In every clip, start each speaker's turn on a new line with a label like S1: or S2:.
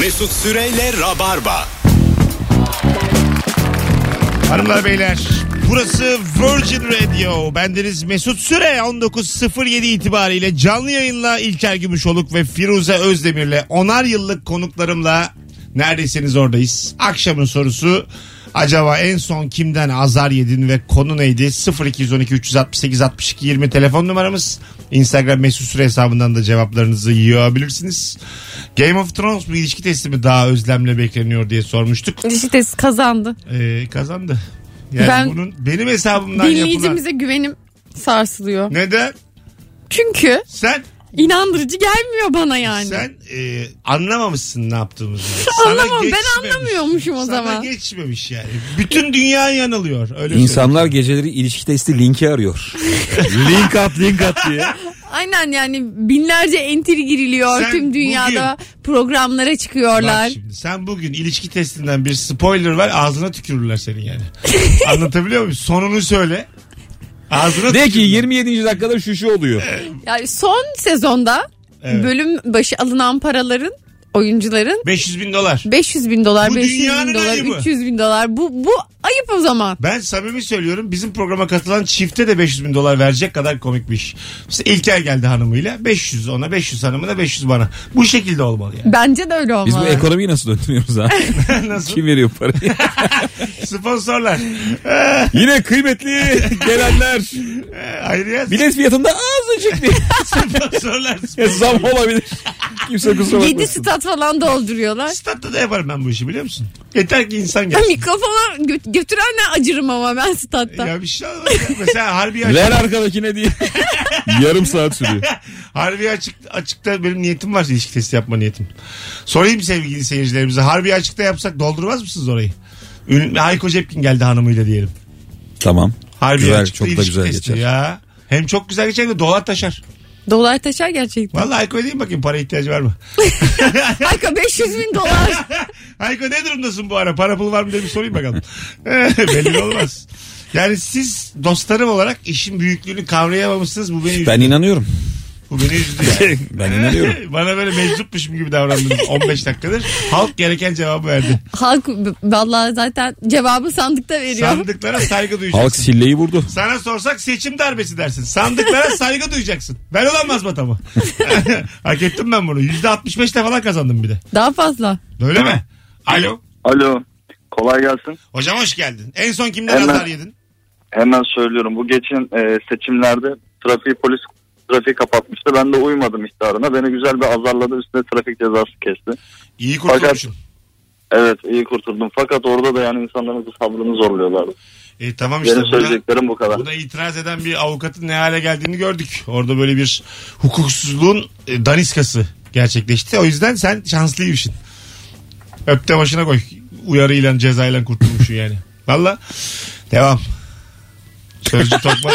S1: Mesut Süreyle Rabarba.
S2: Hanımlar beyler burası Virgin Radio. Bendeniz Mesut Süre 19.07 itibariyle canlı yayınla İlker Gümüşoluk ve Firuze Özdemir'le onar yıllık konuklarımla neredesiniz oradayız. Akşamın sorusu acaba en son kimden azar yedin ve konu neydi? 0212 368 62 20 telefon numaramız. Instagram Mesut Süre hesabından da cevaplarınızı yiyebilirsiniz. Game of Thrones bir ilişki testi mi daha özlemle bekleniyor diye sormuştuk.
S3: Dişi testi kazandı.
S2: Ee, kazandı. Yani
S3: Ben-
S2: bunun benim hesabımdan yapılan.
S3: Dinleyicimize güvenim sarsılıyor.
S2: Neden?
S3: Çünkü
S2: Sen
S3: inandırıcı gelmiyor bana yani.
S2: sen e, anlamamışsın ne yaptığımızı.
S3: Anlamam, ben
S2: geçmemiş.
S3: anlamıyormuşum o
S2: Sana
S3: zaman.
S2: geçmemiş yani. Bütün dünya yanılıyor. Öyle
S4: İnsanlar geceleri ilişki testi linki arıyor. link at link at diye.
S3: Aynen yani binlerce entir giriliyor
S2: Sen
S3: tüm dünyada programlara
S2: söyleyeyim. Bak
S3: çıkıyorlar.
S2: şimdi, sen bugün ilişki testinden bir spoiler ver ağzına tükürürler senin yani. Anlatabiliyor muyum? Sonunu söyle. Ağzına
S4: De ki
S2: tükürürler.
S4: 27. dakikada şu şu oluyor.
S3: Yani son sezonda
S2: Evet.
S3: bölüm başı alınan paraların oyuncuların
S2: 500 bin dolar.
S3: 500 bin dolar,
S2: Bu
S3: 500
S2: dünyanın
S3: bin dolar,
S2: ayıbı.
S3: 300 bin dolar. Bu bu ayıp o zaman.
S2: Ben samimi söylüyorum bizim programa katılan çifte de 500 bin dolar verecek kadar komikmiş. Mesela İlker geldi hanımıyla 500 ona 500 hanımına 500 bana. Bu şekilde olmalı yani.
S3: Bence de öyle olmalı.
S4: Biz bu ekonomiyi nasıl döndürüyoruz ha?
S2: Nasıl?
S4: Kim veriyor parayı?
S2: Sponsorlar.
S4: Yine kıymetli gelenler.
S2: Ayrıca
S4: Bilet fiyatında azıcık bir
S2: sponsorlar.
S4: zam olabilir. Kimse kusura
S3: 7
S4: bakmasın.
S3: stat falan dolduruyorlar.
S2: Statta da yaparım ben bu işi biliyor musun? Yeter ki insan
S3: Ya
S2: gelsin.
S3: mikrofona gö- götürenle acırım ama ben statta.
S2: Ya bir şey olmaz. ya. Mesela harbi açık,
S4: Ver arkadakine diye. Yarım saat sürüyor.
S2: harbi açık, açıkta benim niyetim var ilişki testi yapma niyetim. Sorayım sevgili seyircilerimize harbi açıkta yapsak doldurmaz mısınız orayı? Ün- Hayko Cepkin geldi hanımıyla diyelim.
S4: Tamam.
S2: Harbi
S4: Güzel,
S2: açıkta
S4: çok da
S2: ilişki
S4: güzel
S2: testi
S4: geçer.
S2: ya. Hem çok güzel geçer de dolar taşar.
S3: Dolar taşar gerçekten.
S2: Vallahi Hayko diyeyim bakayım para ihtiyacı var mı?
S3: Ayka 500 bin dolar.
S2: Hayko ne durumdasın bu ara? Para pul var mı diye bir sorayım bakalım. Eh, Belli olmaz. Yani siz dostlarım olarak işin büyüklüğünü kavrayamamışsınız. Bu beni üzdü.
S4: Ben inanıyorum.
S2: Bu beni üzdü yani.
S4: Ben inanıyorum.
S2: Bana böyle meczupmuşum gibi davrandınız 15 dakikadır. Halk gereken cevabı verdi.
S3: Halk b- vallahi zaten cevabı sandıkta veriyor.
S2: Sandıklara saygı
S4: Halk
S2: duyacaksın.
S4: silleyi vurdu.
S2: Sana sorsak seçim darbesi dersin. Sandıklara saygı duyacaksın. Ben olamaz batamı. Hak ettim ben bunu. %65'te falan kazandım bir de.
S3: Daha fazla.
S2: Öyle mi? Alo.
S5: Alo. Kolay gelsin.
S2: Hocam hoş geldin. En son kimden
S5: Hemen-
S2: azar yedin?
S5: Hemen söylüyorum. Bu geçen e, seçimlerde trafiği polis trafiği kapatmıştı. Ben de uymadım ihtarına. Beni güzel bir azarladı. Üstüne trafik cezası kesti.
S2: İyi kurtulmuşsun.
S5: Evet iyi kurtuldum. Fakat orada da yani insanların sabrını zorluyorlardı.
S2: E, tamam işte.
S5: Benim
S2: buna-
S5: söyleyeceklerim bu kadar.
S2: Buna itiraz eden bir avukatın ne hale geldiğini gördük. Orada böyle bir hukuksuzluğun e, daniskası gerçekleşti. O yüzden sen şanslıymışsın. Öpte başına koy. Uyarıyla cezayla kurtulmuşsun yani. Valla. Devam. Sözcü tokmak.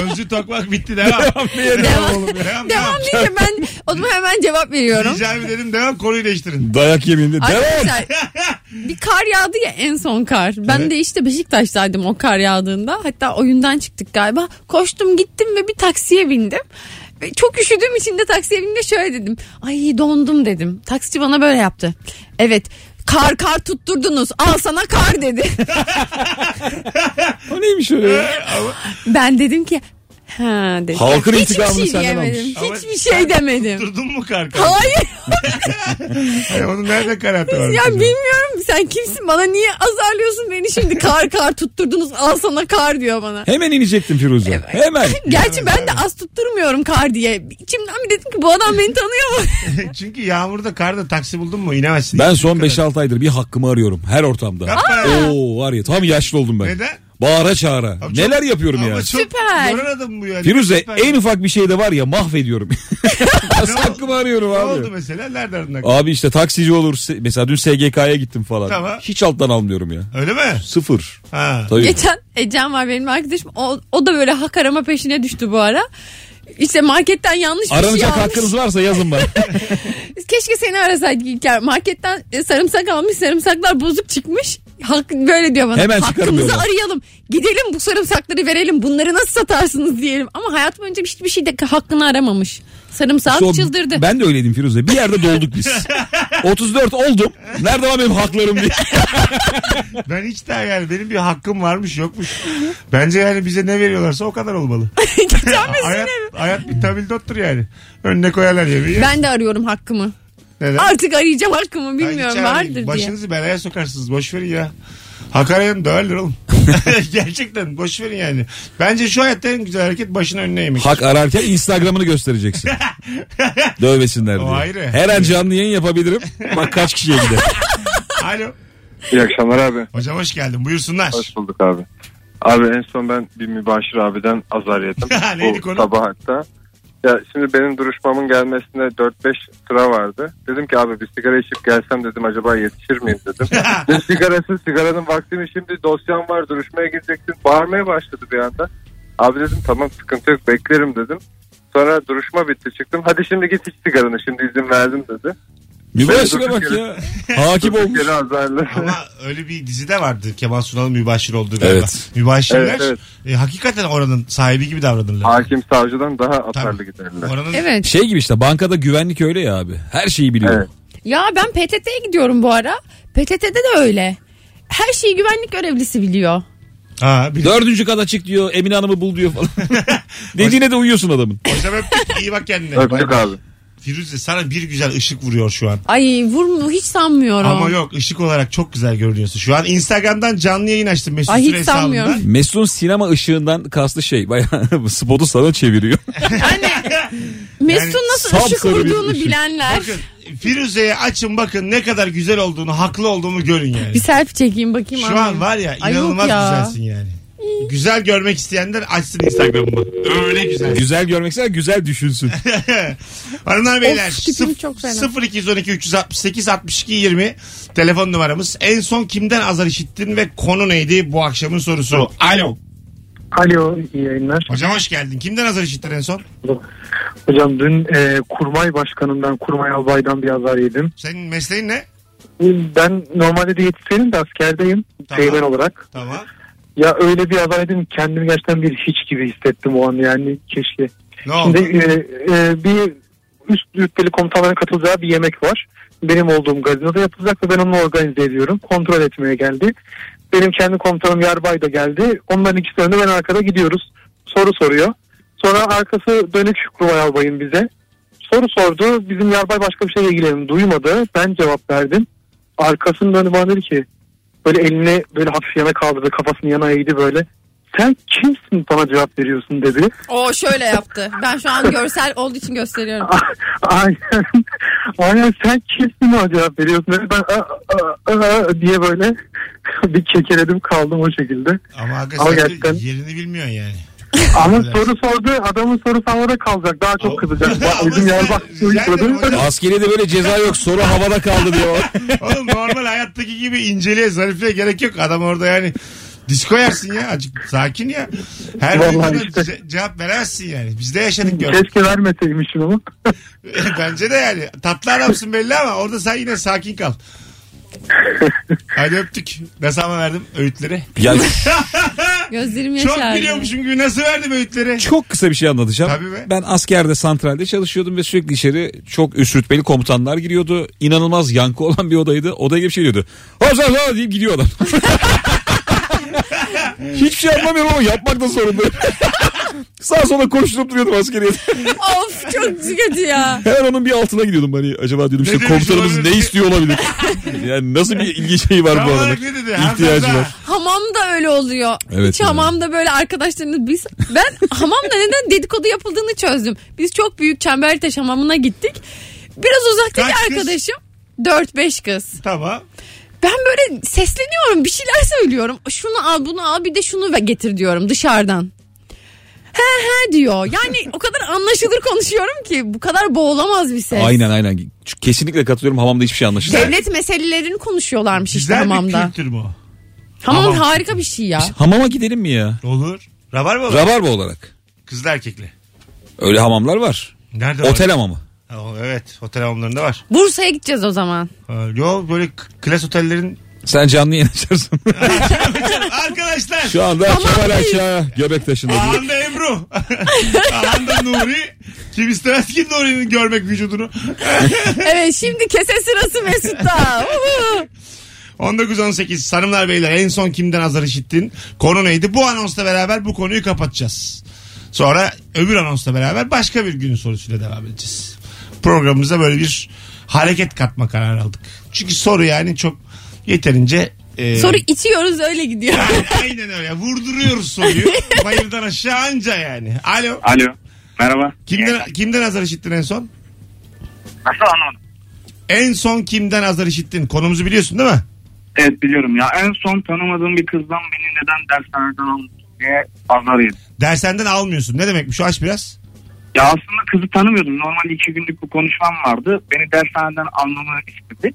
S2: Sözcü tokmak bitti. Devam.
S3: Devam.
S2: Devam.
S3: Devam
S2: Devam.
S3: deyince ben o zaman hemen cevap veriyorum.
S2: Rica dedim devam konuyu değiştirin.
S4: Dayak yeminle. Devam.
S3: Arkadaşlar bir kar yağdı ya en son kar. Ben
S2: Evet.
S3: de işte Beşiktaş'taydım o kar yağdığında. Hatta oyundan çıktık galiba. Koştum gittim ve bir taksiye bindim. Ve çok üşüdüğüm için de taksiye bindiğimde şöyle dedim. Ay dondum dedim. Taksici bana böyle yaptı. Evet kar kar tutturdunuz al sana kar dedi.
S4: O neymiş öyle ya?
S3: ben dedim ki ha dedim.
S4: Halkın
S3: Hiçbir
S4: intikamını
S3: şey
S4: senden almış.
S3: diyemedim.
S2: Ama
S3: Hiçbir
S2: sen
S3: şey demedim.
S2: Durdun mu karka?
S3: Hayır
S2: Ay, Onun nerede karartı var?
S3: ya bilmiyorum sen kimsin bana niye azarlıyorsun beni şimdi kar kar tutturdunuz al sana kar diyor bana.
S4: Hemen inecektim Firuze. Hemen.
S3: Gerçi ben de az tutturmuyorum kar diye. İçimden bir dedim ki bu adam beni tanıyor mu?
S2: Çünkü yağmurda karda taksi buldun mu inemezsin.
S4: Ben son 5-6 aydır bir hakkımı arıyorum her ortamda.
S2: Yapma ya.
S4: Oo var ya tam yaşlı oldum ben.
S2: Neden?
S4: Bağıra çağıra.
S2: Abi çok-
S4: Neler yapıyorum
S2: Ama
S4: ya.
S2: çok
S3: Süper.
S2: Yoran adam bu yani.
S4: Firuze
S2: Süper.
S4: en ufak bir şeyde var ya mahvediyorum. Nasıl
S2: Ne oldu?
S4: hakkımı arıyorum
S2: Ne oldu
S4: abi.
S2: mesela? Nereden aklına?
S4: Abi işte taksici olur. se- Mesela dün SGK'ya gittim falan.
S2: Tamam.
S4: Hiç alttan almıyorum ya.
S2: Öyle mi?
S4: Sıfır.
S2: Ha.
S4: Tabii.
S3: Geçen Ecem var benim arkadaşım. O, o da böyle hak arama peşine düştü bu ara. İşte marketten yanlış bir şey
S4: Aranacak
S3: almış.
S4: hakkınız varsa yazın bana.
S3: Keşke seni arasaydık İlker. Marketten e, sarımsak almış. Sarımsaklar bozuk çıkmış. Hak, böyle diyor bana.
S4: Hemen çıkarım
S3: Hakkımızı
S4: diyorlar.
S3: arayalım. Gidelim bu sarımsakları verelim. Bunları nasıl satarsınız diyelim. Ama hayat boyunca hiçbir şeyde hakkını aramamış. Sarımsak
S4: İşte o-
S3: çıldırdı.
S4: Ben de öyleydim Firuze. Bir yerde dolduk biz. 34 oldum. Nerede var benim haklarım diye.
S2: Ben hiç daha yani benim bir hakkım varmış yokmuş. Bence yani bize ne veriyorlarsa o kadar olmalı. hayat, hayat bir tabildottur yani. Önüne koyarlar yemeği.
S3: Ben de arıyorum hakkımı.
S2: Neden?
S3: Artık arayacağım hakkımı
S2: Ben hiç
S3: bilmiyorum
S2: arayayım.
S3: vardır diye.
S2: Başınızı belaya sokarsınız. Boş verin ya. Hak arayan döverler oğlum. Gerçekten boş verin yani. Bence şu hayatta en güzel hareket başını önüne yemek.
S4: Hak ararken Instagram'ını göstereceksin. Dövmesinler diye.
S2: O ayrı.
S4: Her an canlı yayın yapabilirim. Bak kaç kişiye gider.
S2: Alo.
S5: İyi akşamlar abi.
S2: Hocam hoş geldin. Buyursunlar.
S5: Hoş bulduk abi. Abi en son ben bir mübaşir abiden azar yedim.
S2: Neydi
S5: Bu
S2: konu?
S5: Sabah hatta. Ya şimdi benim duruşmamın gelmesine 4-5 sıra vardı. Dedim ki abi bir sigara içip gelsem dedim acaba yetişir miyim dedim. ne sigarası sigaranın vaktimi şimdi dosyam var duruşmaya gireceksin. Bağırmaya başladı bir anda. Abi dedim tamam sıkıntı yok beklerim dedim. Sonra duruşma bitti çıktım. Hadi şimdi git iç sigaranı şimdi izin verdim dedi.
S4: Mübaşire bak ya. Hakim
S5: Durduk
S4: olmuş.
S5: yere azarlı.
S2: Ama öyle bir dizide vardı. Kemal Sunal'ın mübaşir olduğu galiba.
S4: Evet.
S2: Mübaşirler
S5: Evet, evet.
S2: e, hakikaten oranın sahibi gibi davranırlar.
S5: Hakim savcıdan daha
S2: Tabii.
S5: atarlı giderler.
S2: Oranın
S3: Evet.
S4: Şey gibi işte bankada güvenlik öyle ya abi. Her şeyi biliyor.
S5: Evet.
S3: Ya ben PTT'ye gidiyorum bu ara. PTT'de de öyle. Her şeyi güvenlik görevlisi biliyor.
S2: Ha, bir...
S4: Dördüncü kata çık diyor. Emine Hanım'ı bul diyor falan. Dediğine de uyuyorsun adamın.
S2: Hocam öptük. İyi bak kendine. Bay
S5: Öptük
S2: bay.
S5: abi.
S2: Firuze sana bir güzel ışık vuruyor şu an.
S3: Ay vurmu hiç sanmıyorum.
S2: Ama yok ışık olarak çok güzel görünüyorsun. Şu an Instagram'dan canlı yayın açtım Mesut
S3: Ay, hiç
S2: Süre hesabından.
S3: sanmıyorum.
S4: Mesut'un sinema ışığından kastı şey. Bayağı spotu sana çeviriyor.
S3: Mesut'un
S2: Yani
S3: nasıl ışık
S4: sapsarı bir
S3: vurduğunu
S4: ışık.
S3: bilenler.
S2: Bakın Firuze'ye açın bakın ne kadar güzel olduğunu, haklı olduğumu görün yani.
S3: Bir selfie çekeyim bakayım.
S2: Şu
S3: abi.
S2: an var ya
S3: Ay, yok
S2: inanılmaz
S3: ya.
S2: güzelsin yani. Güzel görmek isteyenler açsın Instagram'ımı. Öyle güzel.
S4: güzel görmek ister güzel düşünsün.
S2: Hanımlar beyler
S3: Of, tipim
S2: sıf-
S3: çok fena.
S2: 0212 368 62 20 telefon numaramız. En son kimden azar işittin ve konu neydi bu akşamın sorusu? Alo.
S6: Alo iyi yayınlar.
S2: Hocam hoş geldin. Kimden azar işittin en son?
S6: Hocam dün e, kurmay başkanından kurmay albaydan bir azar yedim.
S2: Senin mesleğin ne?
S6: Ben normalde diyetisyenim de askerdeyim
S2: Tamam.
S6: teğmen olarak.
S2: Tamam.
S6: Ya öyle bir azar yedim ki kendimi gerçekten bir hiç gibi hissettim o an yani keşke.
S2: Ne oldu?
S6: Şimdi e, e, bir üst rütbeli komutanların katılacağı bir yemek var. Benim olduğum gazinoda yapılacak ve ben onu organize ediyorum. Kontrol etmeye geldi. Benim kendi komutanım Yarbay da geldi. Onların ikisi önde ben arkada gidiyoruz. Soru soruyor. Sonra arkası dönük Kurmay Albay'ın bize. Soru sordu. Bizim Yarbay başka bir şeyle ilgilenin duymadı. Ben cevap verdim. Arkasını dönüp bana dedi ki böyle elini böyle hafif yana kaldırdı. Kafasını yana eğdi böyle. Sen kimsin bana cevap veriyorsun dedi.
S3: O şöyle yaptı. Ben şu an görsel olduğu için gösteriyorum.
S6: Aynen. Aynen sen kimsin o cevap veriyorsun? Böyle Ben "Aa, aa, aa" diye böyle bir kekeledim kaldım o şekilde.
S2: Ama aga
S6: Ama
S2: sen de
S6: gerçekten-
S2: yerini bilmiyorsun yani.
S6: Ama
S2: Evet.
S6: soru sordu adamın sorusu havada kalacak daha çok kızacak. Bak,
S2: Ama
S6: Bizim
S2: sen-
S6: yer bak
S2: rica ederim hocam.
S4: Askeriyede böyle ceza yok. Soru havada kaldı diyor.
S2: Oğlum normal hayattaki gibi inceliğe zarifliğe gerek yok. Adam orada yani disko yersin ya. Azıcık sakin ya. Her
S6: Vallahi
S2: duyduğuna
S6: işte. Şey-
S2: ce- cevap veremezsin yani. Biz de yaşadık gördük.
S6: Keşke vermeseymişim ama.
S2: Bence de yani. Tatlı adamsın belli ama orada sen yine sakin kal. Hadi öptük. Nasıl ama verdim öğütleri?
S4: Ya
S3: Gözlerim yaşardı.
S2: Çok biliyormuşum gibi nasıl verdim öğütleri?
S4: çok kısa bir şey anlatacağım.
S2: Tabii be.
S4: Ben askerde santralde çalışıyordum ve sürekli içeri çok üst rütbeli komutanlar giriyordu. İnanılmaz yankı olan bir odaydı. Odaya girip şey diyordu. Hop hop hop deyip gidiyor adam. Hiçbir şey anlamıyorum ama yapmak da sorun değil. Sağa sola koşturup duruyordum askeriyede.
S3: Of çok kötü ya.
S4: Hemen onun bir altına gidiyordum hani acaba diyordum işte
S2: demiş
S4: komutanımız
S2: olabilir?
S4: ne istiyor olabilir. yani nasıl bir ilgi şeyi var
S2: Tam
S4: bu
S2: olarak
S4: adamın.
S2: ne dedi?
S4: İhtiyacı
S2: Hamza.
S4: var.
S3: Hamamda öyle oluyor.
S4: Evet,
S3: Hiç
S4: evet.
S3: hamamda böyle arkadaşlarınız biz ben hamamda neden dedikodu yapıldığını çözdüm. Biz çok büyük Çembertaş hamamına gittik. Biraz uzaktaki
S2: Kaç kız?
S3: arkadaşım 4-5 kız.
S2: Tamam.
S3: Ben böyle sesleniyorum bir şeyler söylüyorum. Şunu al bunu al bir de şunu ve getir diyorum dışarıdan. He he diyor. Yani o kadar anlaşılır konuşuyorum ki bu kadar boğulamaz bir ses.
S4: Aynen aynen. Kesinlikle katılıyorum havamda hiçbir şey anlaşılmıyor.
S3: Devlet meselelerini konuşuyorlarmış işte
S2: Güzel bir şey.
S3: hamamda.
S2: kültür mü o?
S3: Hamam
S2: Hamam.
S3: harika bir şey ya.
S4: Hamama gidelim mi ya?
S2: Olur. Rabar mı?
S4: Rabarba olarak.
S2: Kızlı erkekli.
S4: Öyle hamamlar var.
S2: Nerede
S4: Otel
S2: var?
S4: hamamı.
S2: Otel. Evet. Otel hamamlarında var.
S3: Bursa'ya gideceğiz o zaman.
S2: Ha, Yo böyle k- klas otellerin
S4: Sen canlı yayın açarsın.
S2: Arkadaşlar.
S4: Şu anda
S3: Tamam
S4: Kemal
S3: değil.
S4: Ayça göbek taşında.
S2: Ahanda Ebru. Ahanda Nuri. Kim istemez ki Nuri'nin görmek vücudunu.
S3: Evet şimdi kese sırası Mesut'ta. Uhu.
S2: 19-18 hanımlar beyler en son kimden azar işittin? Konu neydi? Bu anonsla beraber bu konuyu kapatacağız. Sonra öbür anonsla beraber başka bir günün sorusuyla devam edeceğiz. Programımıza böyle bir hareket katma kararı aldık. Çünkü soru yani çok yeterince... e,
S3: Soru içiyoruz öyle gidiyor.
S2: Aynen öyle. Vurduruyoruz soruyu. Bayırdan aşağı anca yani. Alo.
S7: Alo. Merhaba.
S2: Kimden, kimden azar işittin en son?
S7: Nasıl anlamadım?
S2: En son kimden azar işittin? Konumuzu biliyorsun değil mi?
S7: Evet biliyorum ya. En son tanımadığım bir kızdan beni neden derslerden almış diye azar yedim.
S2: Dersenden almıyorsun. Ne demekmiş? o? Aç biraz.
S7: Ya aslında kızı tanımıyordum. Normal iki günlük bir konuşmam vardı. Beni dershaneden almamı istedi.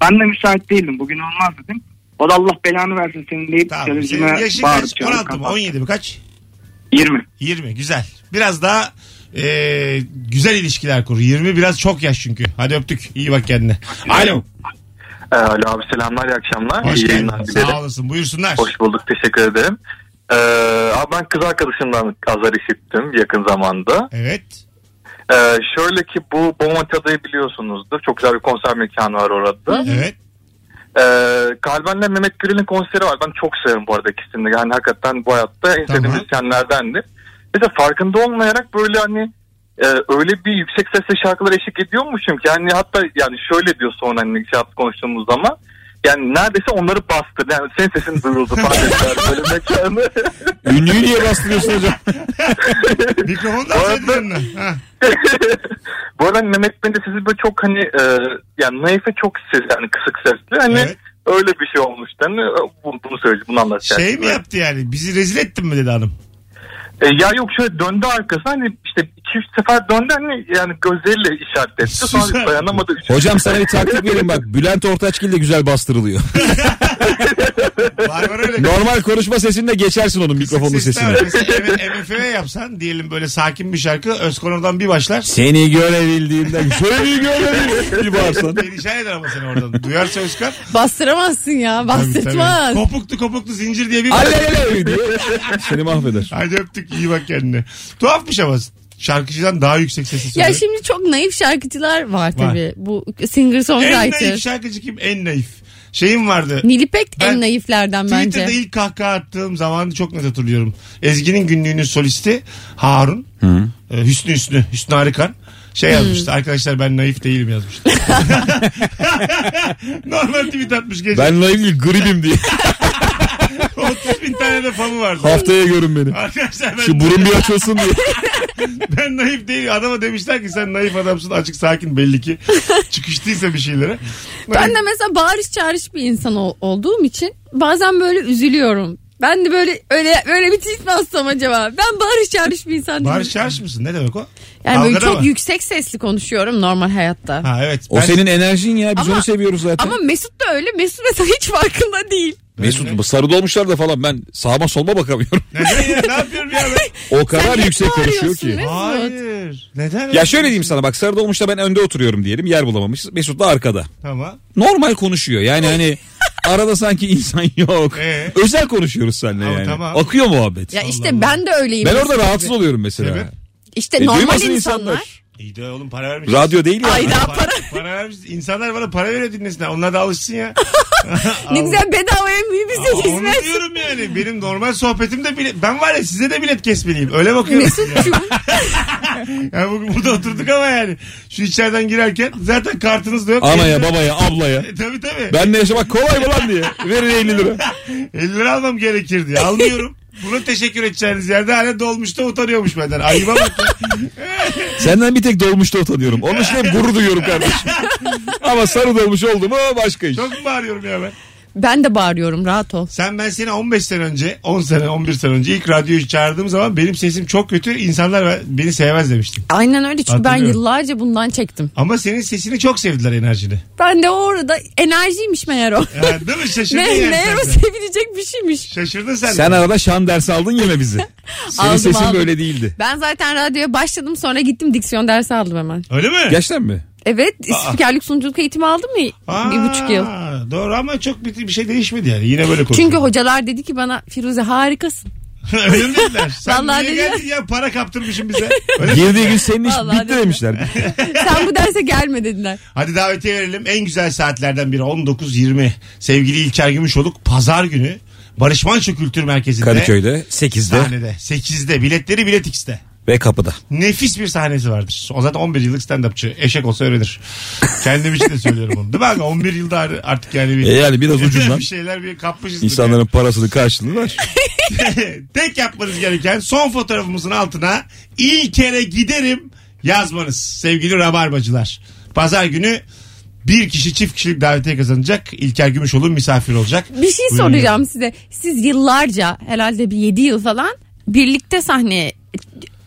S7: Ben de müsait değildim. Bugün olmaz dedim. O da Allah belanı versin senin deyip
S2: Tamam.
S7: televizyona
S2: Senin yaşın
S7: bağırıp
S2: kaç?
S7: çağırıp
S2: 16 mı?
S7: kapattı.
S2: 17 mi? Kaç?
S7: 20.
S2: 20. Güzel. Biraz daha e, güzel ilişkiler kur. 20 biraz çok yaş çünkü. Hadi öptük. İyi bak kendine. Alo.
S8: Ee, Alo abi selamlar iyi akşamlar.
S2: Hoş
S8: iyi
S2: geldin.
S8: yayınlar dilerim.
S2: Sağ olasın. Buyursunlar.
S8: Hoş bulduk teşekkür ederim. Ee, abi ben kız arkadaşımdan azar işittim yakın zamanda.
S2: Evet.
S8: Ee, şöyle ki bu Bomatya'dayı biliyorsunuzdur. Çok güzel bir konser mekanı var orada.
S2: Evet.
S8: Ee, Kalben'le Mehmet Gürel'in konseri var. Ben çok severim bu arada ikisini. Yani hakikaten bu hayatta en sevdiğim
S2: Tamam.
S8: müzisyenlerdendir. Mesela farkında olmayarak böyle hani e, öyle bir yüksek sesle şarkılara eşlik ediyormuşum ki. Yani hatta yani şöyle diyor sonra hani şey yaptık, konuştuğumuz zaman. Yani neredeyse onları bastı. Yani senin sesin duyuldu falan dediler böyle mekanı.
S4: Ünlüyü niye bastırıyorsun hocam?
S2: Mikrofonu da
S8: Bu
S2: açsaydın
S8: arada-
S2: önüne. Ha.
S8: bu arada hani Mehmet Bey'in de sesi böyle çok hani e, yani naife çok ses yani kısık sesli. Hani
S2: Evet.
S8: öyle bir şey olmuş. Yani, bunu, bunu söyleyeceğim bunu anlatacağım.
S2: Şey mi yaptı yani? Bizi rezil ettin mi dedi hanım.
S8: E, ya yok şöyle döndü arkasına hani işte iki üç sefer döndü hani yani gözleriyle işaret etti.
S2: Süper.
S8: Sonra dayanamadı. Üç-
S4: Hocam sana bir taktik vereyim bak. Bülent Ortaçgil de güzel bastırılıyor.
S2: Var var öyle.
S4: Normal konuşma sesinde geçersin onun mikrofonun
S2: Sesler
S4: sesini.
S2: var. Mesela MFÖ yapsan diyelim böyle sakin bir şarkı Özkan oradan bir başlar.
S4: Seni görebildiğimden seni görebildiğimden bir bağırsan.
S2: Perişan eder ama seni oradan. Duyarsa Özkan.
S3: Bastıramazsın ya
S2: Tabii, tabii.
S3: bastırtmaz.
S2: Kopuklu kopuklu zincir diye bir
S4: Alelele diye seni mahveder.
S2: Hadi öptük iyi bak kendine. Tuhafmış ama şarkıcıdan daha yüksek sesi söylüyor.
S3: Ya şimdi çok naif şarkıcılar var tabii. Bu singer
S2: en naif
S3: songwriter.
S2: şarkıcı kim? En naif. Şeyim vardı.
S3: Nilipek
S2: Ben-
S3: en naiflerden
S2: Twitter'da
S3: bence.
S2: ilk kahkaha attığım zamanı çok net hatırlıyorum. Ezgi'nin günlüğünün solisti Harun. Ee, Hüsnü Hüsnü. Hüsnü Arıkan. Şey yazmıştı. Arkadaşlar ben naif değilim yazmıştı. Normal tweet atmış gece.
S4: Ben naif değil gribim diye.
S2: 30 bin tane de fanı vardı.
S4: Haftaya görün beni.
S2: Arkadaşlar ben
S4: Şu burun bir açılsın diye.
S2: Ben naif değilim. Adama demişler ki sen naif adamsın açık sakin belli ki. Çıkıştıysa bir şeylere.
S3: Ben de mesela bağırış çağırış bir insan ol- olduğum için bazen böyle üzülüyorum. Ben de böyle öyle öyle bir tweet mi atsam acaba? Ben bağırış çağırış bir insan
S2: Bağır
S3: değilim.
S2: şarj mısın? Ne demek o?
S3: Yani böyle
S2: Dalgada
S3: çok
S2: mı?
S3: yüksek sesli konuşuyorum normal hayatta.
S2: Ha evet.
S4: O
S2: Ben-
S4: senin enerjin ya biz
S3: Ama-
S4: onu seviyoruz zaten.
S3: Ama Mesut da öyle. Mesut mesela hiç farkında değil.
S4: Mesut sarı dolmuşlar da falan ben sağıma solma bakamıyorum.
S2: Neden ya? Ne yapıyorum ya ben?
S4: O kadar
S3: hep
S4: yüksek konuşuyor
S3: bağırıyorsun
S4: ki.
S3: Mesut.
S2: Hayır. Neden?
S4: Ya şöyle diyeyim sana bak sarı dolmuşta ben önde oturuyorum diyelim yer bulamamışız. Mesut da arkada.
S2: Tamam.
S4: normal konuşuyor. Yani hani arada sanki insan yok.
S2: Ee?
S4: Özel konuşuyoruz seninle
S2: Ama
S4: yani.
S2: tamam.
S4: Akıyor muhabbet.
S3: Ya işte
S2: Allah.
S3: ben de öyleyim.
S4: ben
S3: Mesut
S4: orada
S3: gibi.
S4: rahatsız oluyorum mesela.
S2: Sebep?
S3: İşte
S4: E,
S3: normal
S4: duymasın
S3: insanlar.
S2: İyi de oğlum para vermiş.
S4: Radyo değil ya.
S3: Ay daha para.
S2: Para vermiş. İnsanlar bana para veriyor dinlesinler. Onlar da alışsın ya.
S3: Ne güzel bedavaya mi bize
S2: Aa, Onu
S3: hizmet.
S2: diyorum yani. Benim normal sohbetimde bile... Ben var ya size de bilet kesmeliyim. Öyle bakıyorum.
S3: Mesut'cum
S2: Yani bugün burada oturduk ama yani. Şu içeriden girerken zaten kartınız da yok.
S4: Anaya, babaya, ablaya.
S2: E, Tabii tabii.
S4: Benle yaşamak kolay mı lan diye. Verin 50 lira.
S2: 50 lira almam gerekirdi. Almıyorum. Buna teşekkür edeceğiniz yerde hala dolmuşta utanıyormuş benden. Ayıba bak. ya.
S4: Senden bir tek dolmuşta utanıyorum. Onun için hep gurur duyuyorum kardeşim. Ama sarı dolmuş oldu mu başka iş.
S2: Çok mu bağırıyorum ya ben?
S3: ben de bağırıyorum rahat ol.
S2: Sen ben seni 15 sene önce, 10 sene, 11 sene önce ilk radyoyu çağırdığım zaman benim sesim çok kötü. İnsanlar ben- beni sevmez demiştin.
S3: Aynen öyle çünkü ben
S2: Hatırlıyorum.
S3: yıllarca bundan çektim.
S2: Ama senin sesini çok sevdiler enerjini.
S3: Ben de orada enerjiymiş meğer o.
S2: Yani değil mi? Şaşırdın
S3: Ne,
S2: yani
S3: meğer o
S2: sen de.
S3: sevilecek bir şeymiş.
S2: Şaşırdın sen. de.
S4: Sen arada şan dersi aldın yine bizi. Senin
S3: Aldım,
S4: sesin
S3: aldım.
S4: böyle değildi.
S3: Ben zaten radyoya başladım sonra gittim diksiyon dersi aldım hemen.
S2: Öyle mi?
S4: Gerçekten mi?
S3: Evet spikerlik sunuculuk eğitimi aldım ya bir buçuk yıl.
S2: Aa, Doğru ama çok bir, bir şey değişmedi yani. Yine böyle konuşuyor.
S3: Çünkü hocalar dedi ki bana Firuze harikasın.
S2: Öyle mi dediler? Sen
S3: Vallahi
S2: niye
S3: dedi.
S2: geldin ya para kaptırmışsın bize. Öyle mi?
S9: Girdiği gün senin iş
S3: Vallahi
S9: bitti
S3: değil mi?
S9: demişler.
S3: Sen bu derse gelme dediler.
S2: Hadi davetiye verelim. En güzel saatlerden biri 19.20. Sevgili İlker Gümüşoluk pazar günü Barış Manço Kültür Merkezi'nde.
S4: Kadıköy'de
S9: 8'de
S2: Sahnede. 8'de. Biletleri Bilet X'te.
S9: ve kapıda.
S2: Nefis bir sahnesi vardır. O zaten 11 yıllık stand-upçı. Eşek olsa öğrenir. Kendim için de söylüyorum bunu. Değil mi aga? 11 yılda ar- artık yani bir...
S9: E yani biraz ucundan.
S2: bir şeyler bir kapmışız.
S9: İnsanların parasını karşılığını ver.
S2: Tek yapmanız gereken son fotoğrafımızın altına ilk kere giderim yazmanız sevgili rabarbacılar. Pazar günü bir kişi çift kişilik davetiye kazanacak. İlker Gümüşoğlu misafir olacak.
S3: Bir şey
S2: Buyurun.
S3: soracağım size. Siz yıllarca herhalde bir 7 yıl falan birlikte sahne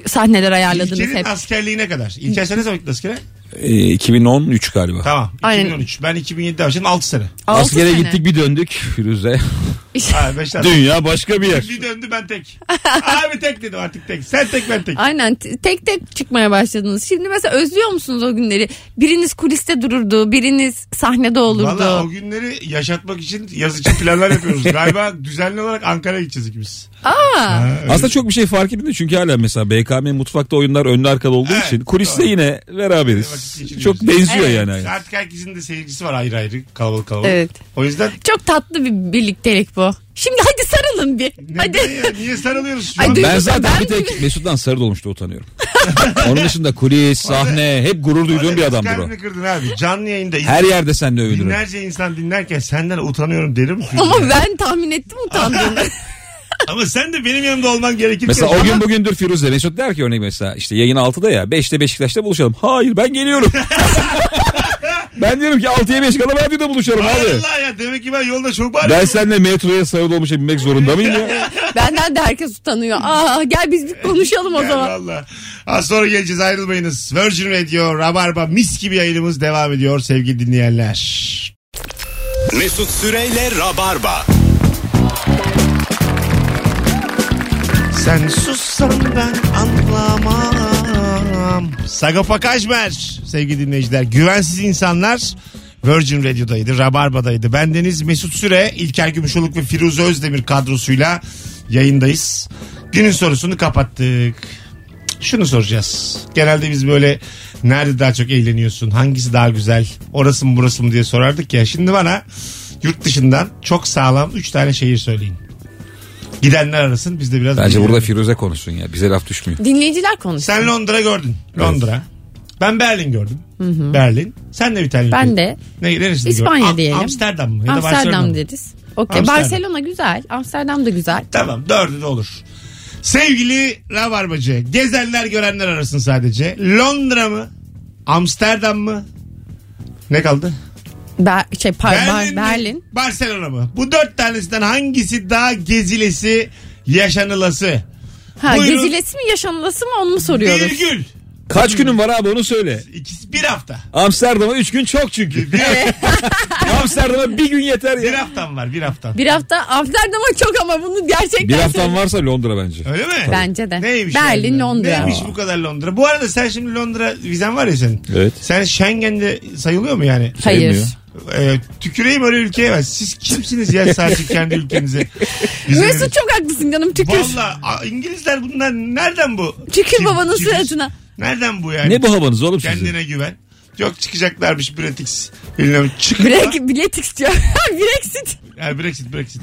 S3: sahneler ayarladınız
S2: İlker'in
S3: hep.
S2: askerliğine kadar. İlker sen ne zaman gittin askere?
S4: Ee, 2013 galiba.
S2: Tamam.
S3: Aynen.
S2: 2013. Ben 2007'de başladım 6 sene.
S3: Altı
S9: Askere
S3: sene.
S9: gittik bir döndük Firuze.
S2: Ha, beşler.
S9: Dünya başka bir yer.
S2: Bir döndü ben tek. Abi tek dedim artık tek. Sen tek ben tek.
S3: Aynen t- tek tek çıkmaya başladınız. Şimdi mesela özlüyor musunuz o günleri? Biriniz kuliste dururdu, biriniz sahnede olurdu.
S2: Valla o günleri yaşatmak için yaz için planlar yapıyoruz. Galiba düzenli olarak Ankara'ya gideceğiz ikimiz.
S3: Aa,
S4: Aslında çok bir şey fark etmedi çünkü hala mesela BKM mutfakta oyunlar önlü arkalı olduğu
S2: Evet,
S4: için kuliste
S2: doğru.
S4: yine
S2: Vakit
S4: beraberiz.
S2: geçiriyoruz.
S4: Çok benziyor
S3: Evet.
S4: yani.
S2: Artık herkesin de seyircisi var ayrı ayrı kalabalık kalabalık.
S3: Evet.
S2: O yüzden
S3: çok tatlı bir birliktelik bu. Şimdi hadi sarılın bir.
S2: neden
S3: hadi.
S2: ya? Niye sarılıyoruz şu
S3: Ay,
S2: an?
S3: duygu-
S4: Ben zaten
S3: Ben
S4: bir tek Mesut'tan sarı dolmuştu utanıyorum. Onun dışında kulis, sahne hep gurur duyduğum bir adamdır o.
S2: Kalbini kırdın abi. Canlı yayında
S4: Her yerde seninle övünürüm.
S2: binlerce insan dinlerken senden utanıyorum derim.
S3: Ama ben tahmin ettim utandığını.
S2: Ama sen de benim yanımda olman gerekirken.
S4: Mesela o gün bugündür Firuze Mesut der ki örnek mesela işte yayın 6'da ya 5'te Beşiktaş'ta buluşalım. Hayır ben geliyorum. ben diyorum ki 6'ya 5 kala radyoda buluşalım abi.
S2: Allah ya demek ki ben yolda çok bağırıyorum.
S9: Ben seninle metroya sarı dolmuşa binmek zorunda mıyım ya?
S3: Benden de herkes utanıyor. Aa, gel biz bir konuşalım o
S2: Ya
S3: zaman.
S2: valla. Az sonra geleceğiz ayrılmayınız. Virgin Radio, Rabarba mis gibi yayınımız devam ediyor sevgili dinleyenler.
S1: Mesut Süreyle Rabarba.
S2: Sen sussan ben anlamam. Sagopa Kajmer sevgili dinleyiciler. Güvensiz insanlar Virgin Radio'daydı, Rabarba'daydı. Bendeniz Mesut Süre, İlker Gümüşoluk ve Firuze Özdemir kadrosuyla yayındayız. Günün sorusunu kapattık. Şunu soracağız. Genelde biz böyle nerede daha çok eğleniyorsun, hangisi daha güzel, orası mı burası mı diye sorardık ya. Şimdi bana yurt dışından çok sağlam 3 tane şehir söyleyin. Gidenler arasın biz de biraz...
S4: Bence
S2: bilelim.
S4: burada Firuze konuşsun ya bize laf düşmüyor.
S3: Dinleyiciler konuş.
S2: Sen Londra gördün. Londra. Ben Berlin gördüm. Berlin. Sen de bir tane.
S3: Ben
S2: ülke-
S3: de.
S2: Ne, neresini
S3: İspanya
S2: gördün? Am-
S3: diyelim.
S2: Amsterdam mı? Ya da Barcelona
S3: Amsterdam
S2: mı?
S3: dediniz. Okey.
S2: Amsterdam.
S3: Barcelona güzel. Amsterdam da güzel.
S2: Tamam dördü de olur. Sevgili Rabarbacı. Gezenler görenler arasın sadece. Londra mı? Amsterdam mı? Ne kaldı?
S3: Ber- şey, par- Berlin.
S2: mi?
S3: Berlin.
S2: Barcelona mı? Bu dört tanesinden hangisi daha gezilesi, yaşanılası?
S3: Ha,
S2: Buyurun.
S3: gezilesi mi yaşanılası mı onu mu soruyoruz?
S2: Virgül.
S4: Kaç günün var abi onu söyle.
S2: İkisi bir hafta.
S4: Amsterdam'a 3 gün çok çünkü.
S2: Bir,
S4: Amsterdam'a bir gün yeter
S2: bir
S4: ya.
S2: haftam var bir haftam.
S3: Bir hafta Amsterdam'a çok ama bunu gerçekten
S4: Bir haftan
S3: söyleyeyim.
S4: varsa Londra bence.
S2: Öyle mi?
S3: Bence de.
S2: Neymiş şey
S3: Berlin,
S2: yani?
S3: Londra.
S2: Neymiş bu kadar Londra? Bu arada sen şimdi Londra vizen var ya senin.
S4: Evet.
S2: Sen Schengen'de sayılıyor mu yani?
S3: Hayır.
S4: Sevmiyor.
S2: Ee, tüküreyim öyle ülkeye ben. Siz kimsiniz ya sadece kendi ülkenize? vize
S3: Mesut
S2: verin?
S3: çok haklısın canım tükür.
S2: Valla a- İngilizler bunlar nereden bu?
S3: Tükür
S2: Kim-
S3: babanın
S2: kibir?
S3: suratına.
S2: Nereden bu yani?
S4: Ne bu havanız oğlum sizin?
S2: Kendine güven. Yok çıkacaklarmış Bretix. Bilmiyorum çık.
S3: Brek, bilet istiyor. Brexit.
S2: Ha, Brexit Brexit.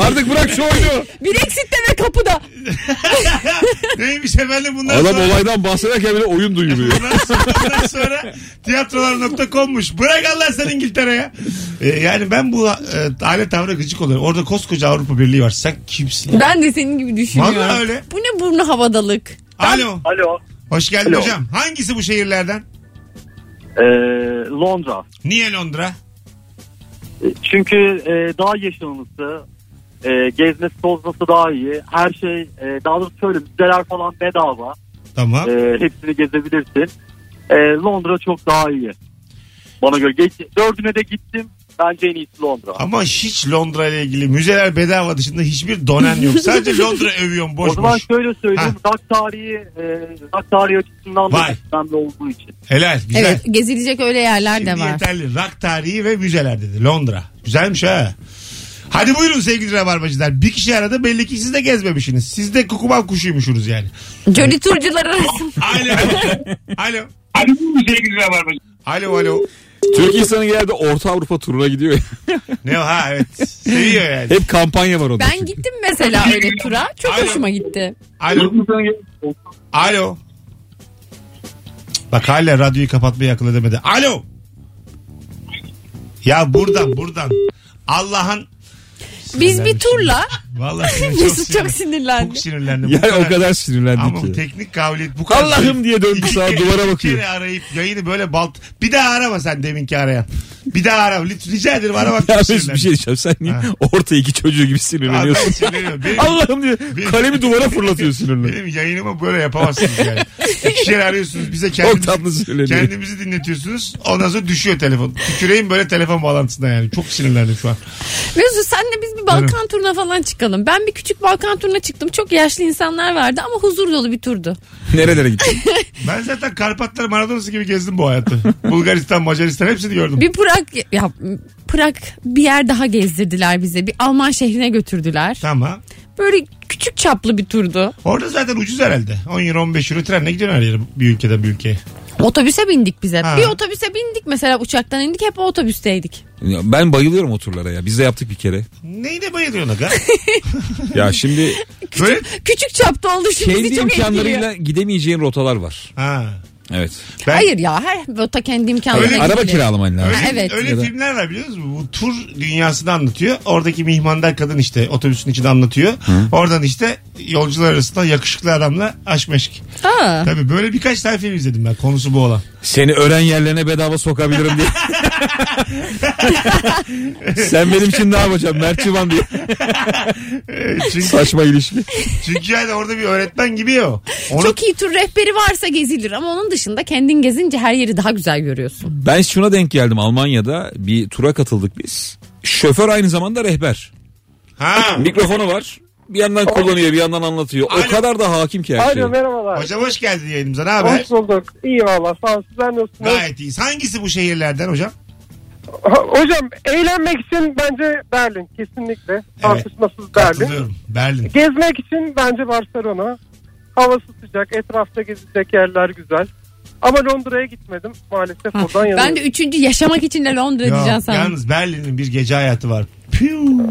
S4: Artık bırak şu oyunu.
S3: Brexit deme kapıda.
S2: Neymiş efendim bunlar?
S9: Adam olaydan bahsederken bile oyun duyuruyor.
S2: Ondan sonra, ondan sonra tiyatrolar.com'muş. Bırak Allah sen İngiltere'ye. Ee, yani ben bu e, aile tavrı gıcık oluyorum. Orada koskoca Avrupa Birliği var. Sen kimsin?
S3: Ben de senin gibi düşünüyorum.
S2: Vallahi öyle.
S3: Bu ne burnu havadalık.
S2: Alo.
S7: Alo.
S2: Hoş geldin
S7: Alo.
S2: hocam. Hangisi bu şehirlerden?
S7: e, Londra.
S2: Niye Londra?
S7: Çünkü e, daha yaşanılısı, e, gezmesi tozması daha iyi. Her şey, e, daha doğrusu şöyle müzeler falan bedava.
S2: Tamam.
S7: E, hepsini gezebilirsin. E, Londra çok daha iyi. Bana göre. Geç, dördüne de gittim.
S10: Bence en iyisi Londra.
S2: Ama hiç Londra ile ilgili müzeler bedava dışında hiçbir donen yok. Sadece Londra övüyorum
S10: o
S2: boş
S10: zaman
S2: boş.
S10: şöyle söyleyeyim. Rock tarihi, e, rock tarihi açısından da
S2: Vay.
S10: önemli olduğu için.
S2: Helal güzel.
S3: Evet gezilecek öyle yerler
S2: Şimdi
S3: de var.
S2: yeterli. Rak tarihi ve müzeler dedi. Londra. Güzelmiş ha. Hadi buyurun sevgili rabarbacılar. Bir kişi arada belli ki siz de gezmemişsiniz. Siz de kukuman kuşuymuşsunuz yani.
S3: Jolly turcular arasında.
S2: Alo. alo. Alo alo.
S9: Türk insanı genelde Orta Avrupa turuna gidiyor. ya.
S2: Ne o? ha evet. Seviyor yani.
S9: Hep kampanya var orada.
S3: Ben gittim mesela öyle tura. Çok
S2: Aynen.
S3: hoşuma gitti.
S2: Alo. Alo. Bak hala radyoyu kapatmayı akıl edemedi. Alo. Ya buradan buradan. Allah'ın
S3: Biz
S4: şey.
S3: bir turla
S2: Vallahi seni
S3: Mesut çok
S2: sinirlendim.
S3: sinirlendi.
S2: Çok sinirlendim. Bu
S9: Yani o kadar sinirlendik
S2: Ama bu
S9: ki.
S2: teknik kabiliyet bu kadar.
S9: Allah'ım diye döndü
S2: İki
S9: sağa
S2: kere-
S9: duvara
S2: iki
S9: bakıyor.
S2: kere arayıp yayını böyle balt. Bir daha arama sen deminki arayan. Bir daha ara. Lütfen rica ederim arama.
S9: Ya Mesut bir şey diyeceğim. Sen niye
S2: Ha.
S9: orta iki çocuğu gibi sinirleniyorsun?
S2: Benim,
S9: Allah'ım diye kalemi duvara fırlatıyor sinirle.
S2: benim yayınımı böyle yapamazsınız yani. İki kere arıyorsunuz. Bize
S9: Çok
S2: kendiniz,
S9: tatlı söyleniyor.
S2: kendimizi dinletiyorsunuz. Ondan sonra düşüyor telefon. Tüküreyim böyle telefon bağlantısına yani. Çok sinirlendim şu an.
S3: Mesut senle biz bir Balkan turuna falan çıkalım. Ben bir küçük Balkan turuna çıktım. Çok yaşlı insanlar vardı ama huzur dolu bir turdu.
S9: Nerelere gittin?
S2: Ben zaten Karpatlar Maradona'sı gibi gezdim bu hayatı. Bulgaristan, Macaristan hepsini gördüm.
S3: Bir Prag ya Prag bir yer daha gezdirdiler bize. Bir Alman şehrine götürdüler.
S2: Tamam.
S3: Böyle küçük çaplı bir turdu.
S2: Orada zaten ucuz herhalde. 10 euro 15 euro trenle gidiyorsun her yere bir ülkeden bir ülkeye.
S3: Otobüse bindik bize.
S2: Ha.
S3: Bir otobüse bindik mesela uçaktan indik hep o otobüsteydik.
S4: Ya Ben bayılıyorum o turlara ya. Biz de yaptık bir kere.
S2: Neyine bayılıyorsun aga?
S4: Ya şimdi
S2: Böyle...
S3: Küçük çapta oldu şimdi
S4: kendi
S3: bizi çok etkiliyor.
S4: imkanlarıyla gidemeyeceğin rotalar var.
S2: Ha.
S4: Evet.
S2: Ben-
S3: Hayır ya her rota kendi imkanlarıyla
S2: Öyle-
S4: Araba
S3: gidilir.
S4: kiralaman lazım.
S2: Öyle,
S3: Ha, evet.
S2: öyle
S4: Ya da-
S2: filmler var biliyor musun? Bu tur dünyasını anlatıyor. Oradaki mihmandar kadın işte otobüsün içinde anlatıyor. Oradan işte yolcular arasında yakışıklı adamla aşk meşk.
S3: Aa.
S2: Tabii böyle birkaç tane film izledim ben konusu bu olan.
S4: Seni öğren yerlerine bedava sokabilirim diye. Sen benim için ne yapacaksın Mert Çıban diye.
S2: Ee, çünkü,
S4: Saçma ilişki.
S2: çünkü yani orada bir öğretmen gibi ya o. Onu
S3: Çok iyi tur rehberi varsa gezilir ama onun dışında kendin gezince her yeri daha güzel görüyorsun.
S4: Ben şuna denk geldim Almanya'da bir tura katıldık biz. Şoför aynı zamanda rehber.
S2: Ha.
S4: Mikrofonu var. Bir yandan kullanıyor bir yandan anlatıyor.
S2: Alo.
S4: O kadar da hakim ki her şeye.
S6: Alo merhabalar.
S2: Hocam hoş geldin yayınımıza. Ne haber?
S6: Hoş bulduk. İyi valla sağ olun. Sizler nasılsınız?
S2: Gayet iyiyiz. Hangisi bu şehirlerden hocam?
S6: Ho- Hocam eğlenmek için bence Berlin kesinlikle. Tartışmasız Berlin.
S2: Katılıyorum. Berlin.
S6: Gezmek için bence Barcelona. Havası sıcak, etrafta gezilecek yerler güzel. Ama Londra'ya gitmedim maalesef
S3: Ha,
S6: oradan yanıyorum.
S3: Ben de üçüncü yaşamak için de Londra diyeceğim
S2: Yok,
S3: sana.
S2: yalnız Berlin'in bir gece hayatı var. Piu.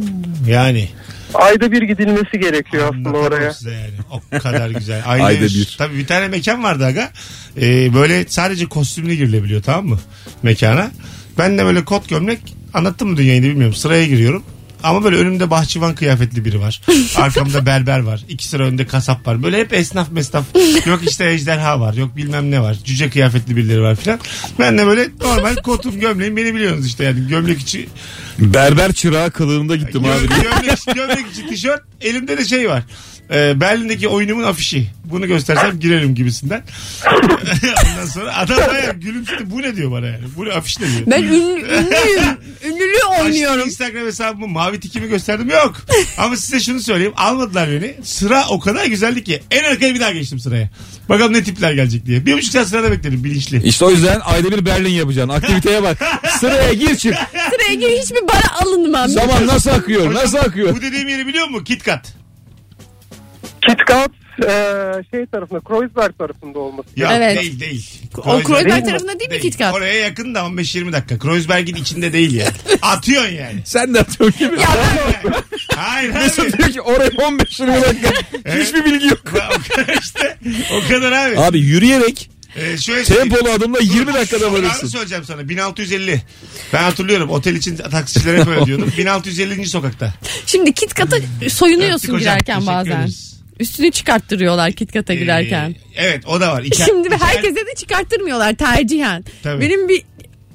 S2: Yani.
S6: Ayda bir gidilmesi gerekiyor aslında
S2: Anlatamam
S6: oraya.
S2: Size yani. O kadar güzel. Ayda,
S4: Ayda
S2: bir.
S4: bir.
S2: Tabii bir tane mekan vardı aga. Ee, böyle sadece kostümlü girilebiliyor tamam mı? Mekana. Ben de böyle kot gömlek anlattım mı dünyayı bilmiyorum. Sıraya giriyorum. Ama böyle önümde bahçıvan kıyafetli biri var. Arkamda berber var. İki sıra önde kasap var. Böyle hep esnaf mesnaf. Yok işte ejderha var. Yok bilmem ne var. Cüce kıyafetli birileri var filan. Ben de böyle normal kotum gömleğim beni biliyorsunuz işte. Yani gömlek içi
S9: Berber çırağı kılığında gittim
S2: Gö-
S9: abi.
S2: gömlek, gömlek içi tişört. Elimde de şey var. Ee, Berlin'deki oyunumun afişi. Bunu göstersem girerim gibisinden. Ondan sonra adam bayağı gülümsedi. Bu ne diyor bana yani? Bu ne afiş ne diyor?
S3: Ben ünlü, ünlüyüm. Ünlülüğü
S2: Açtım
S3: oynuyorum.
S2: Instagram hesabımı mavi tikimi gösterdim yok. Ama size şunu söyleyeyim almadılar beni. Sıra o kadar güzeldi ki en arkaya bir daha geçtim sıraya. Bakalım ne tipler gelecek diye. Bir buçuk saat sırada bekledim bilinçli.
S4: İşte o yüzden ayda bir Berlin yapacaksın. Aktiviteye bak. Sıraya gir çık.
S3: Sıraya gir hiçbir bara alınmam.
S4: Zaman nasıl akıyor? Nasıl akıyor?
S2: Bu dediğim yeri biliyor musun? KitKat.
S6: KitKat eee, şey tarafında, Kreuzberg tarafında olması.
S2: Ya
S3: Evet.
S2: değil değil.
S3: O Kreuzberg
S2: Kreuzberg-
S3: tarafında değil mi KitKat?
S2: Oraya yakın da 15-20 dakika. Kreuzberg'in içinde değil yani. Atıyorsun yani.
S4: Sen de atıyorsun gibi.
S2: Hayır abi.
S4: Mesut diyor ki oraya 15 lira dakika. Hiçbir bilgi yok.
S2: o kadar işte. O kadar abi.
S4: Abi yürüyerek
S2: Ee, şöyle söyleyeyim.
S4: tempolu adımla 20 dakikada
S2: Oranı
S4: varırsın.
S2: söyleyeceğim sana. 1650. Ben hatırlıyorum. Otel için taksicilere hep öyle diyordum. 1650. sokakta.
S3: Şimdi KitKat'a
S2: Öptük
S3: soyunuyorsun
S2: hocam,
S3: girerken
S2: teşekkür
S3: bazen.
S2: ederiz.
S3: Üstünü çıkarttırıyorlar KitKat'a girerken.
S2: Ee, evet o da var. İçer-
S3: Şimdi
S2: içer-
S3: herkese de çıkarttırmıyorlar tercihen.
S2: Tabii.
S3: Benim bir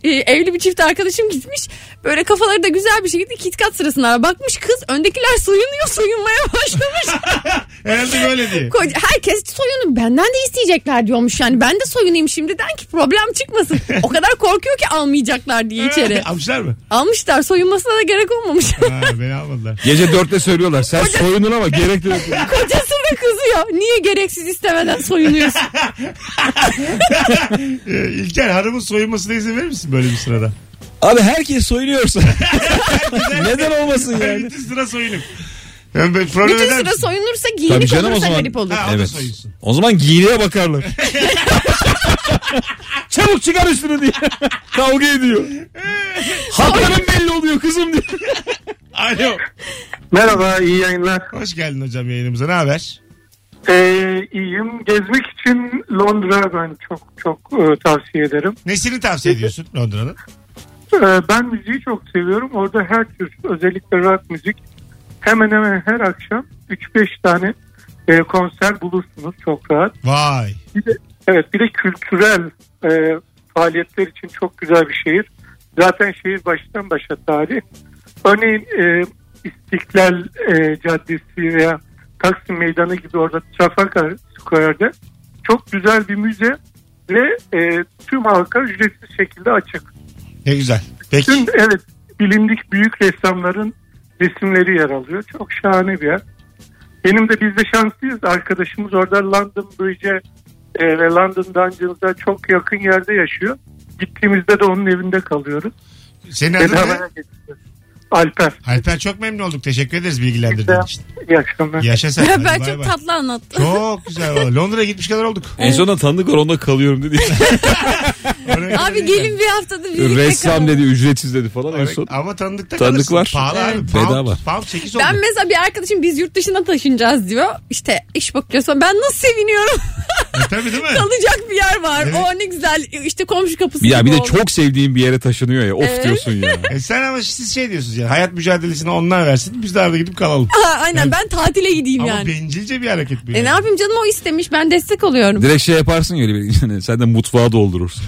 S3: e, evli bir çift arkadaşım gitmiş. Böyle kafaları da güzel bir şekilde KitKat sırasına bakmış kız. Öndekiler soyunuyor soyunmaya başlamış.
S2: Herhalde böyle diye.
S3: Koca- Herkes soyunun benden de isteyecekler diyormuş yani. Ben de soyunayım şimdiden ki problem çıkmasın. O kadar korkuyor ki almayacaklar diye içeri.
S2: Almışlar mı?
S3: Almışlar soyunmasına da gerek olmamış.
S2: Ha, beni almadılar.
S4: Gece dörtte söylüyorlar. Sen soyundun ama gerekli yok.
S3: Kocası da kızıyor. Niye gereksiz istemeden soyunuyorsun?
S2: Ee, İlker hanımın soyunmasına izin verir misin böyle bir sırada?
S4: Abi herkes soyunuyorsa. Neden olmasın yani?
S2: Bütün sıra soyunup. Yani ben problem
S3: Bütün
S2: eder
S3: sıra
S2: misin?
S3: soyunursa
S4: Tabii
S3: giyinip
S4: canım, o
S3: olursa
S4: zaman-
S3: garip olur.
S2: Ha, o da
S4: Evet.
S2: soyunsun.
S4: O zaman giyiniye bakarlar. Çabuk çıkar üstünü diye. Kavga ediyor. Hakların belli oluyor kızım diye.
S2: Alo.
S6: Merhaba iyi yayınlar.
S2: Hoş geldin hocam yayınımıza. Ne haber?
S6: Ee, iyiyim. Gezmek için Londra ben çok çok e, tavsiye ederim.
S2: Nesini tavsiye ediyorsun Londra'nın?
S6: Ee, ben müziği çok seviyorum. Orada her tür özellikle rock müzik hemen hemen her akşam 3-5 tane e, konser bulursunuz çok rahat.
S2: Vay.
S6: Evet bir de kültürel e, faaliyetler için çok güzel bir şehir. Zaten şehir baştan başa tarih. Örneğin e, İstiklal e, Caddesi veya Taksim Meydanı gibi orada Trafalgar Square'de çok güzel bir müze ve e, tüm halka ücretsiz şekilde açık.
S2: Ne güzel. Peki.
S6: Tüm evet bilindik büyük ressamların resimleri yer alıyor. Çok şahane bir yer. Benim de biz de şanslıyız. Arkadaşımız orada London Bridge'e e, ve London Dungeons'a çok yakın yerde yaşıyor. Gittiğimizde de onun evinde kalıyoruz.
S2: Senin adın ne?
S6: Bedavaya getiriyoruz. Alper.
S2: Alper çok memnun olduk. Teşekkür ederiz bilgilendirdiğin
S6: Güzel.
S2: için.
S6: İyi akşamlar.
S2: Yaşa sen. Hadi
S3: ben
S2: bay
S3: çok
S2: bay.
S3: tatlı anlattım.
S2: Çok güzel. valla. Londra'ya gitmiş kadar olduk.
S4: En sonunda tanıdık var onda kalıyorum dedi.
S2: Oraya-
S3: Abi gelin bir haftada birlikte
S4: Ressam
S3: kalalım.
S4: dedi ücretsiz dedi falan en
S2: Oraya-
S4: son.
S2: Ama tanıdıkta
S4: Tanıdık
S2: kalırsın.
S4: var.
S2: Pahalı abi.
S4: Evet.
S2: Pound,
S4: Bedava.
S2: Pound 8 oldu.
S3: Ben mesela bir arkadaşım biz yurt dışına taşınacağız diyor. İşte iş bakıyorsa ben nasıl seviniyorum.
S2: E, Tabii değil mi?
S3: Kalacak bir yer var.
S2: Evet.
S3: O ne güzel işte komşu kapısı
S4: Ya bir
S3: gibi
S4: de
S3: oldu.
S4: çok sevdiğin bir yere taşınıyor ya. Of
S3: Evet.
S4: diyorsun ya.
S2: E sen ama siz şey diyorsunuz yani hayat mücadelesini onlar versin biz de arada gidip kalalım.
S3: Ha, aynen ben tatile gideyim
S2: Ama
S3: yani.
S2: bencilce bir hareket bu.
S3: E
S2: yani.
S3: ne yapayım canım o istemiş ben destek oluyorum.
S4: Direkt şey yaparsın ya öyle bir. yani sen de mutfağı doldurursun.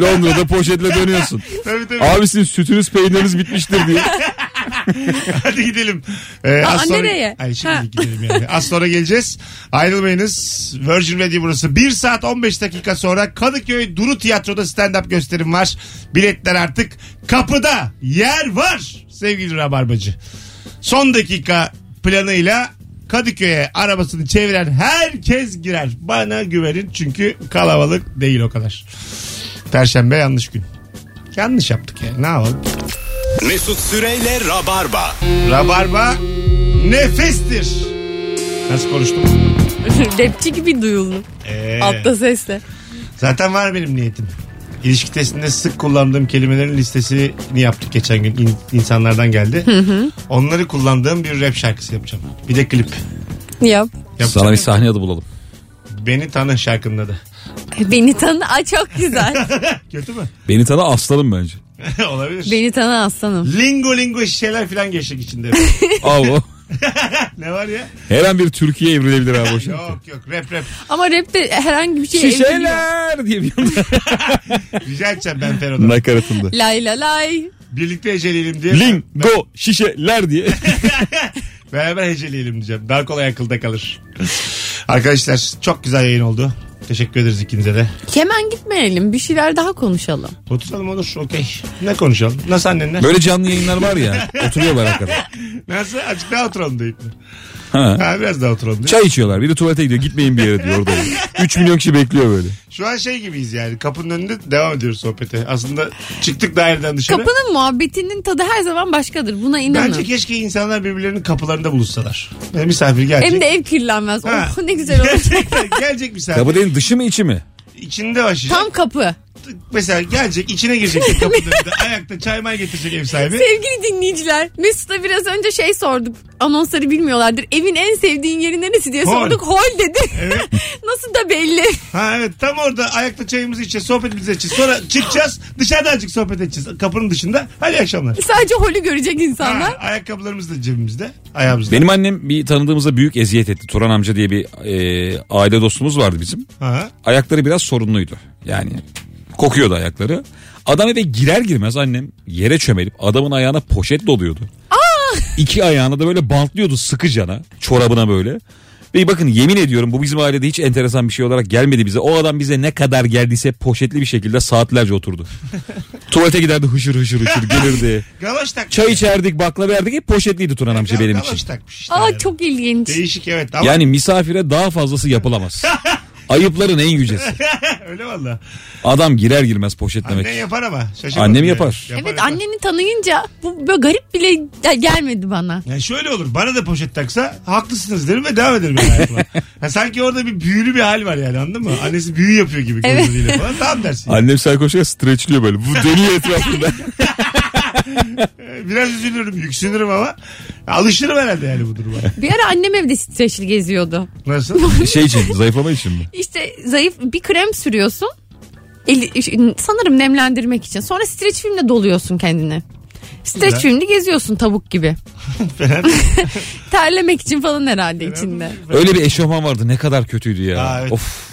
S4: Londra'da poşetle dönüyorsun.
S2: Tabii
S3: E,
S2: tabii.
S4: Abi sizin sütünüz peyniriniz bitmiştir diye.
S2: Hadi gidelim. Ee,
S3: Aa,
S2: az sonra...
S3: nereye?
S2: Ay, şimdi
S3: Ha.
S2: gidelim yani. Az sonra geleceğiz. Ayrılmayınız. Virgin Radio burası. 1 saat 15 dakika sonra Kadıköy Duru Tiyatro'da stand-up gösterim var. Biletler artık kapıda. Yer var sevgili Rabarbacı. Son dakika planıyla Kadıköy'e arabasını çeviren herkes girer. Bana güvenin çünkü kalabalık değil o kadar. Perşembe yanlış gün. Yanlış yaptık yani ne yapalım.
S1: Mesut Süreyle Rabarba.
S2: Rabarba nefestir. Nasıl konuştum?
S3: Rapçi gibi duyuldum
S2: Ee,
S3: altta sesle.
S2: zaten var benim niyetim. İlişki testinde sık kullandığım kelimelerin listesini yaptık geçen gün. İn- insanlardan geldi. Onları kullandığım bir rap şarkısı yapacağım. Bir de klip
S3: Yap.
S2: yapacağım.
S4: Sana bir sahne adı bulalım.
S2: Beni tanı şarkının adı.
S3: Beni tanı Ay, çok güzel.
S2: Kötü mü?
S4: Beni tanı aslanım bence.
S2: Olabilir.
S3: Beni tanı aslanım.
S2: Lingo lingo şeyler falan geçtik içinde.
S4: Abi o.
S2: ne var ya?
S4: Her an bir Türkiye evrilebilir abi o şey. şarkı.
S2: Yok yok rap rap.
S3: Ama rapte herhangi bir şey evriliyor.
S4: Şişeler diye bir
S2: Rica edeceğim ben Fero'dan.
S4: nakaratında.
S3: Lay la lay.
S2: Birlikte heceleyelim diye.
S4: Lingo şişeler diye.
S2: Beraber heceleyelim diyeceğim. Daha kolay akılda kalır. Arkadaşlar çok güzel yayın oldu. Teşekkür ederiz ikinize de.
S3: Hemen gitmeyelim bir şeyler daha konuşalım.
S2: Oturalım olur. Okey. Ne konuşalım? Nasıl annenler?
S4: Böyle canlı yayınlar var ya. Oturuyorlar hakikaten.
S2: Nasıl? Azıcık daha oturalım deyip mi?
S4: Ha.
S2: Ha, biraz daha oturalım deyip.
S4: Çay içiyorlar. Biri tuvalete gidiyor. Gitmeyin bir yere diyor orada. 3 milyon kişi bekliyor böyle.
S2: Şu an şey gibiyiz yani. Kapının önünde devam ediyoruz sohbete. Aslında çıktık daireden dışarı.
S3: Kapının muhabbetinin tadı her zaman başkadır. Buna inanın.
S2: Bence keşke insanlar birbirlerinin kapılarında buluşsalar. Yani misafir gelecek.
S3: Hem de ev kirlenmez.
S2: Ha.
S3: Oh, ne güzel olur.
S2: Gerçekten gelecek misafir.
S4: Kapı dediğin dışı mı içi mi?
S2: İçinde başlayacak.
S3: Tam kapı.
S2: Mesela gelecek içine girecek kapının önünde. Ayakta çay may getirecek ev sahibi.
S3: Sevgili dinleyiciler Mesut'a biraz önce şey sorduk. Anonsları bilmiyorlardır. Evin en sevdiğin yeri neresi diye
S2: Hol.
S3: sorduk. Hol dedi.
S2: Evet.
S3: Nasıl da belli.
S2: Ha evet tam orada ayakta çayımızı içeceğiz sohbetimizi edeceğiz. Sonra çıkacağız dışarıda azıcık sohbet edeceğiz kapının dışında. Hadi iyi akşamlar.
S3: Sadece holü görecek
S2: Ha,
S3: insanlar.
S2: ayakkabılarımız da cebimizde ayağımızda.
S4: Benim annem bir tanıdığımıza büyük eziyet etti. Turan amca diye bir e, aile dostumuz vardı bizim.
S2: Ha.
S4: Ayakları biraz sorunluydu. Yani kokuyordu ayakları. Adam eve girer girmez annem yere çömelip adamın ayağına poşet doluyordu. İki ayağını da böyle bantlıyordu sıkıcana çorabına böyle. Ve bakın yemin ediyorum bu bizim ailede hiç enteresan bir şey olarak gelmedi bize. O adam bize ne kadar geldiyse poşetli bir şekilde saatlerce oturdu. Tuvalete giderdi hışır hışır hışır gelirdi.
S2: Galaş takmış.
S4: Çay içerdik baklava yerdik hep poşetliydi Turan amca benim
S2: Galaş
S4: için.
S2: takmış işte.
S3: Aa çok ilginç.
S2: Değişik evet ama
S4: Yani misafire daha fazlası yapılamaz. Ayıpların en yücesi.
S2: öyle valla.
S4: Adam girer girmez poşetlemek.
S2: Annen yapar ama. şaşırmadım
S4: Annem
S2: yani.
S4: yapar.
S3: Evet
S2: yapar.
S3: anneni tanıyınca bu böyle garip bile gel- gelmedi bana.
S2: Yani şöyle olur bana da poşet taksa haklısınız derim ve devam ederim ben hayatıma. Ya sanki orada bir büyülü bir hal var yani anladın mı? Annesi büyü yapıyor gibi
S3: Evet.
S2: gözleriyle falan tamam dersin.
S9: Annem sarkoşa streçliyor böyle. Bu deniyor etrafında.
S2: Biraz üzülürüm yüksünürüm ama alışırım herhalde yani bu duruma.
S3: Bir ara annem evde streçli geziyordu.
S2: Nasıl?
S9: şey için zayıflama için mi?
S3: İşte zayıf bir krem sürüyorsun. Eli- sanırım nemlendirmek için. Sonra streç filmle doluyorsun kendini. Streç
S2: Güzel.
S3: filmle geziyorsun tavuk gibi.
S2: Fena değil.
S3: Terlemek için falan herhalde içinde.
S4: Öyle bir eşofman vardı ne kadar kötüydü ya.
S2: Aa, evet.
S4: Of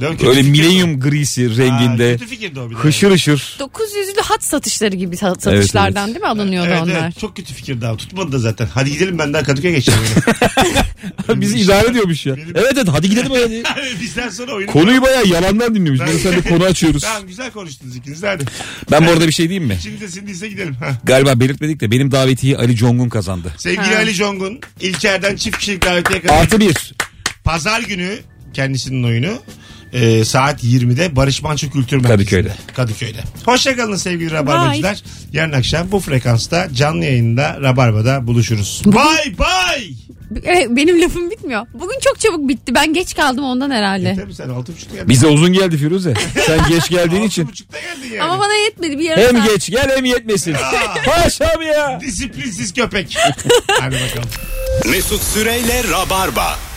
S2: Değil mi? Kötü
S4: öyle
S2: fikir
S4: milenyum grisi
S2: o. Aa,
S4: renginde.
S2: kötü fikirdi o bir de.
S4: Hışır hışır.
S3: 900'lü hat satışları gibi sa- satışlardan
S4: evet.
S3: değil mi alınıyordu
S2: Evet,
S3: onlar?
S2: evet, çok kötü fikir daha. Tutmadı da zaten. Hadi gidelim ben daha Kadıköy'e geçeceğim.
S4: Bizi idare ediyormuş ya. Hmm. Evet evet hadi gidelim hadi.
S2: Yani Bizden sonra oyunu...
S9: Konuyu bayağı yalandan dinliyormuş. Ben sen de konu açıyoruz.
S2: Tamam güzel konuştunuz ikiniz de hadi.
S4: Ben bu arada bir şey diyeyim mi?
S2: Şimdi de sindiyse gidelim. Ha.
S4: Galiba belirtmedik de benim davetiyi Ali Congun kazandı.
S2: Sevgili
S3: Ha.
S2: Ali Congun İlker'den çift kişilik davetiye kadar
S4: Artı bir.
S2: Pazar günü kendisinin oyunu e, saat 20'de Barış Manço Kültür Merkezi'nde.
S4: Kadıköy'de.
S2: Kadıköy'de. Hoşçakalın sevgili Rabarbacılar. Yarın akşam bu frekansta canlı yayında Rabarba'da buluşuruz. Bay bay.
S3: Evet, e, Benim lafım bitmiyor. Bugün çok çabuk bitti. Ben geç kaldım ondan herhalde.
S2: Tabii sen 6.30'da geldin.
S4: Bize uzun geldi Firuze. Sen geç geldiğin için.
S2: 6.30'da geldin yani.
S3: Ama bana yetmedi bir yarım
S4: Hem
S3: saat.
S4: geç gel hem yetmesin. Haşam ya.
S2: Disiplinsiz köpek. Hadi bakalım.
S1: Mesut Süreyle Rabarba.